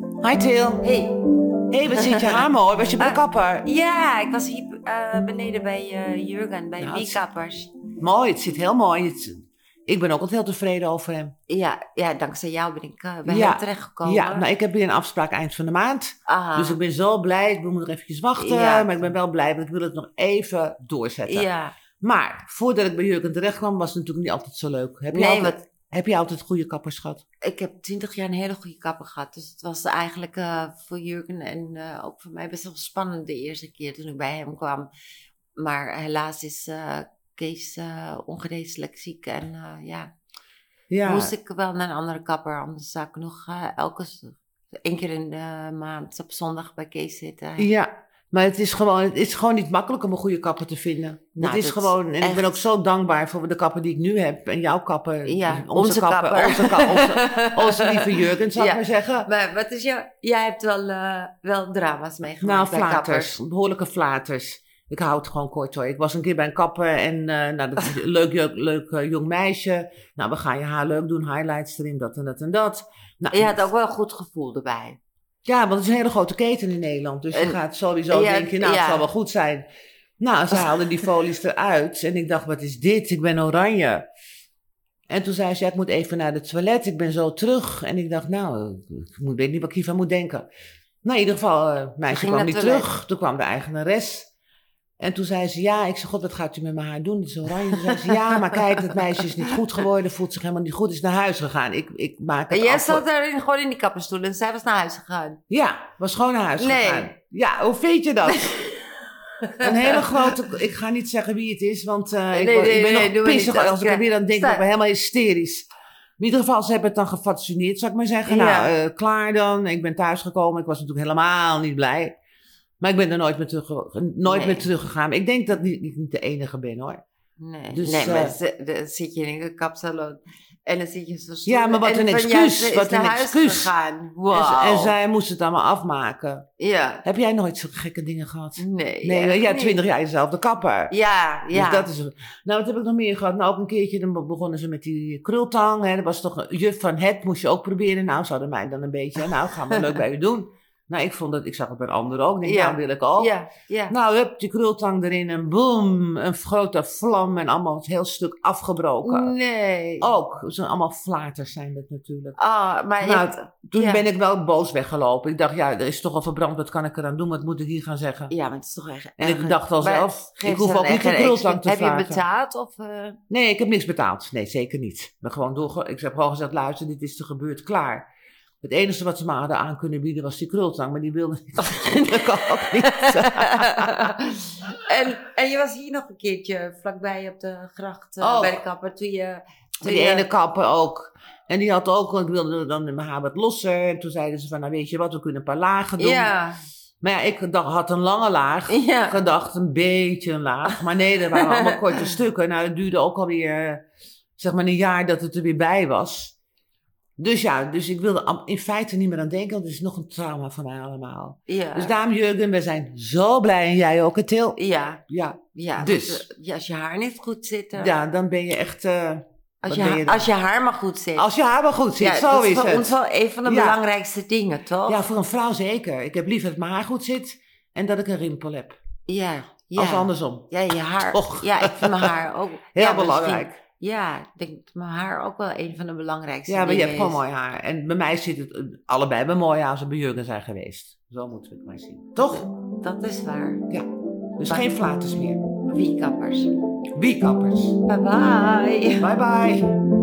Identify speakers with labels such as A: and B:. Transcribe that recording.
A: Maithil,
B: Hey.
A: hé, hey, wat zit je haar mooi? Was je bij de
B: Ah.
A: kapper?
B: Ja, ik was hier eh, beneden bij eh, Jurgen, bij
A: Ja,
B: ja,
A: het-
B: Wiekappers.
A: Mooi, het zit heel mooi. Het- ik ben ook altijd heel tevreden over hem.
B: Ja, ja, dankzij jou ben ik eh, bij
A: Ja.
B: hem terechtgekomen. Ah.
A: Ja, nou, ik heb weer een afspraak eind van de maand.
B: Aha.
A: Dus ik ben zo blij. Ik moet nog eventjes wachten.
B: Ja.
A: Maar ik ben wel blij, want ik wil het nog even doorzetten.
B: Ja,
A: Maar voordat ik bij Jurgen terecht kwam, was het natuurlijk niet altijd zo leuk. Heb je,
B: nee,
A: altijd,
B: want
A: heb je altijd goede kappers gehad?
B: ik heb twintig jaar een hele goede kapper gehad. Dus het was eigenlijk eh, voor Jurgen en eh, ook voor mij best wel spannend de eerste keer toen ik bij hem kwam. Maar helaas is eh, Kees eh ongeneeslijk ziek en eh, ja,
A: Ja.
B: moest ik wel naar een andere kapper. Anders zou ik nog eh, elke s- één keer in de maand op zondag bij Kees zitten.
A: Ja, maar het is, gewoon, het is gewoon niet makkelijk om een goede kapper te vinden.
B: Nou,
A: het is
B: dat
A: gewoon, en ik ben
B: echt.
A: ook zo dankbaar voor de kapper die ik nu heb. En jouw kapper.
B: Ja,
A: dus
B: onze kapper.
A: Onze, ka- onze, onze lieve Jurgen, zou ik
B: Ja.
A: maar zeggen.
B: Maar wat is jou, jij hebt wel, eh, wel drama's
A: Nou,
B: meegemaakt bij
A: flaters.
B: kappers.
A: Behoorlijke flaters. Ik hou het gewoon kort hoor. Ik was een keer bij een kapper en eh, nou, dat is een leuk, leuk, leuk eh, jong meisje. Nou, we gaan je haar leuk doen, highlights erin, dat en dat en dat. Nou,
B: Je had ook wel een goed gevoel erbij.
A: Ja, want het is een hele grote keten in Nederland. Dus je
B: En-
A: gaat sowieso
B: ja,
A: denken, nou, het
B: ja.
A: zal wel goed zijn. Nou, ze haalden die folies eruit. En ik dacht, wat is dit? Ik ben oranje. En toen zei ze, ja, ik moet even naar het toilet. Ik ben zo terug. En ik dacht, nou, ik moet- weet niet wat ik hiervan moet denken. Nou, in ieder geval, eh meisje
B: Ging
A: kwam
B: naar
A: niet
B: het toilet.
A: terug. Toen kwam de eigenares. En toen zei ze, ja, ik zei, god, wat gaat u met mijn haar doen? Het is oranje. Toen zei ze, ja, maar kijk, dat meisje is niet goed geworden. Voelt zich helemaal niet goed. Is naar huis gegaan. Ik, ik maak het
B: En jij
A: af voor-
B: zat er in, gewoon in die kapperstoel en zij was naar huis gegaan.
A: ja, was gewoon naar huis
B: Nee.
A: gegaan. Ja, hoe vind je dat? Een hele grote... Ik ga niet zeggen wie het is, want eh, ik,
B: Nee,
A: word- ik
B: nee,
A: ben
B: nee,
A: nog
B: doe maar
A: pissig
B: niet.
A: als ik er weer aan denk.
B: Sta-
A: Ik ben helemaal hysterisch. In ieder geval, ze hebben het dan gefatsoeneerd, zou ik maar zeggen. Nou, eh, klaar dan. Ik ben thuisgekomen. Ik was natuurlijk helemaal niet blij. Maar ik ben er nooit meer, terug, nooit
B: Nee.
A: meer teruggegaan. Ik denk dat ik niet, niet de enige ben, hoor.
B: Nee,
A: Dus,
B: nee
A: eh,
B: maar ze- dan zit je in een kapsalon en dan zit je zo stoel.
A: Ja, maar wat
B: en
A: een
B: van,
A: excuus,
B: ze is
A: wat
B: naar
A: een
B: huis
A: excuus.
B: gegaan.
A: En,
B: Wow.
A: en zij moest het allemaal afmaken.
B: Ja.
A: Heb jij nooit zulke gekke dingen gehad?
B: Nee.
A: Nee,
B: echt
A: ja,
B: niet.
A: twintig jaar jezelf de kapper.
B: Ja, ja.
A: Dus dat is, nou, wat heb ik nog meer gehad? Nou, ook een keertje dan be- begonnen ze met die krultang. Hè. Dat was toch een juf van het, moest je ook proberen. Nou, ze hadden mij dan een beetje, nou, gaan we leuk bij u doen. Nou, ik vond dat, ik zag het bij anderen ook. Ik denk,
B: Ja.
A: nou, wil ik ook.
B: Ja, ja.
A: Nou, hup, die krultang erin en boem, een grote vlam en allemaal het heel stuk afgebroken.
B: Mm. nee.
A: Ook, zo allemaal flaters zijn dat natuurlijk.
B: Ah, maar
A: Nou,
B: ik-
A: Toen
B: Ja.
A: ben ik wel boos weggelopen. Ik dacht, ja, er is toch al verbrand, wat kan ik eraan doen? Wat moet ik hier gaan zeggen?
B: ja, maar het is toch echt...
A: En ik dacht al
B: Maar
A: zelf, ik
B: Geef
A: hoef
B: ze dan
A: ook niet
B: echt
A: de
B: een
A: krultang te
B: extra-
A: vragen.
B: Heb je betaald of... eh,
A: Nee, ik heb niks betaald. Nee, zeker niet. Ik, ben gewoon doorge- ik heb gewoon gezegd, luister, dit is er gebeurd, klaar. Het enige wat ze me hadden aan kunnen bieden was die krultang, maar die wilde ik natuurlijk ook niet.
B: en, en je was hier nog een keertje vlakbij op de gracht eh,
A: Oh.
B: bij de kapper toen je... Toen
A: Die
B: je-
A: ene kapper ook. En die had ook, want ik wilde dan in mijn haar wat losser. En toen zeiden ze van, nou weet je wat, we kunnen een paar lagen doen.
B: Ja,
A: Maar ja, ik dacht, had een lange laag.
B: ja.
A: gedacht, een beetje een laag. Maar nee, dat waren allemaal korte stukken. Nou, het duurde ook alweer, eh, zeg maar, een jaar dat het er weer bij was. Dus ja, dus ik wilde am- in feite niet meer aan denken, want het is nog een trauma van mij allemaal.
B: ja.
A: Dus daarom, Jurgen, we zijn zo blij en jij ook, het heel.
B: ja,
A: Ja,
B: ja.
A: Dus.
B: want, eh, ja, als je haar niet goed zit. eh,
A: ja, dan ben je echt, eh,
B: als,
A: wat
B: je
A: ben je
B: haar,
A: dan?
B: als je haar maar goed zit.
A: als je haar maar goed zit,
B: ja,
A: zo
B: dat
A: is
B: voor
A: het.
B: ons wel een van de
A: Ja.
B: belangrijkste dingen, toch?
A: Ja, voor een vrouw zeker. Ik heb liever dat mijn haar goed zit en dat ik een rimpel heb.
B: ja. ja.
A: Als andersom.
B: Ja, je haar.
A: Toch.
B: Ja, ik vind mijn haar ook...
A: Heel
B: ja,
A: belangrijk.
B: misschien- Ja, ik denk dat mijn haar ook wel een van de belangrijkste
A: Ja, maar je
B: dingen
A: hebt gewoon
B: is.
A: mooi haar. En bij mij zit het eh, allebei bij mooi haar als we bij Jurgen zijn geweest. Zo moeten we het maar zien. Toch?
B: Dat is waar.
A: Dus
B: Maar-
A: geen flaters meer.
B: Wiekappers.
A: Wiekappers.
B: Bye bye.
A: Bye bye.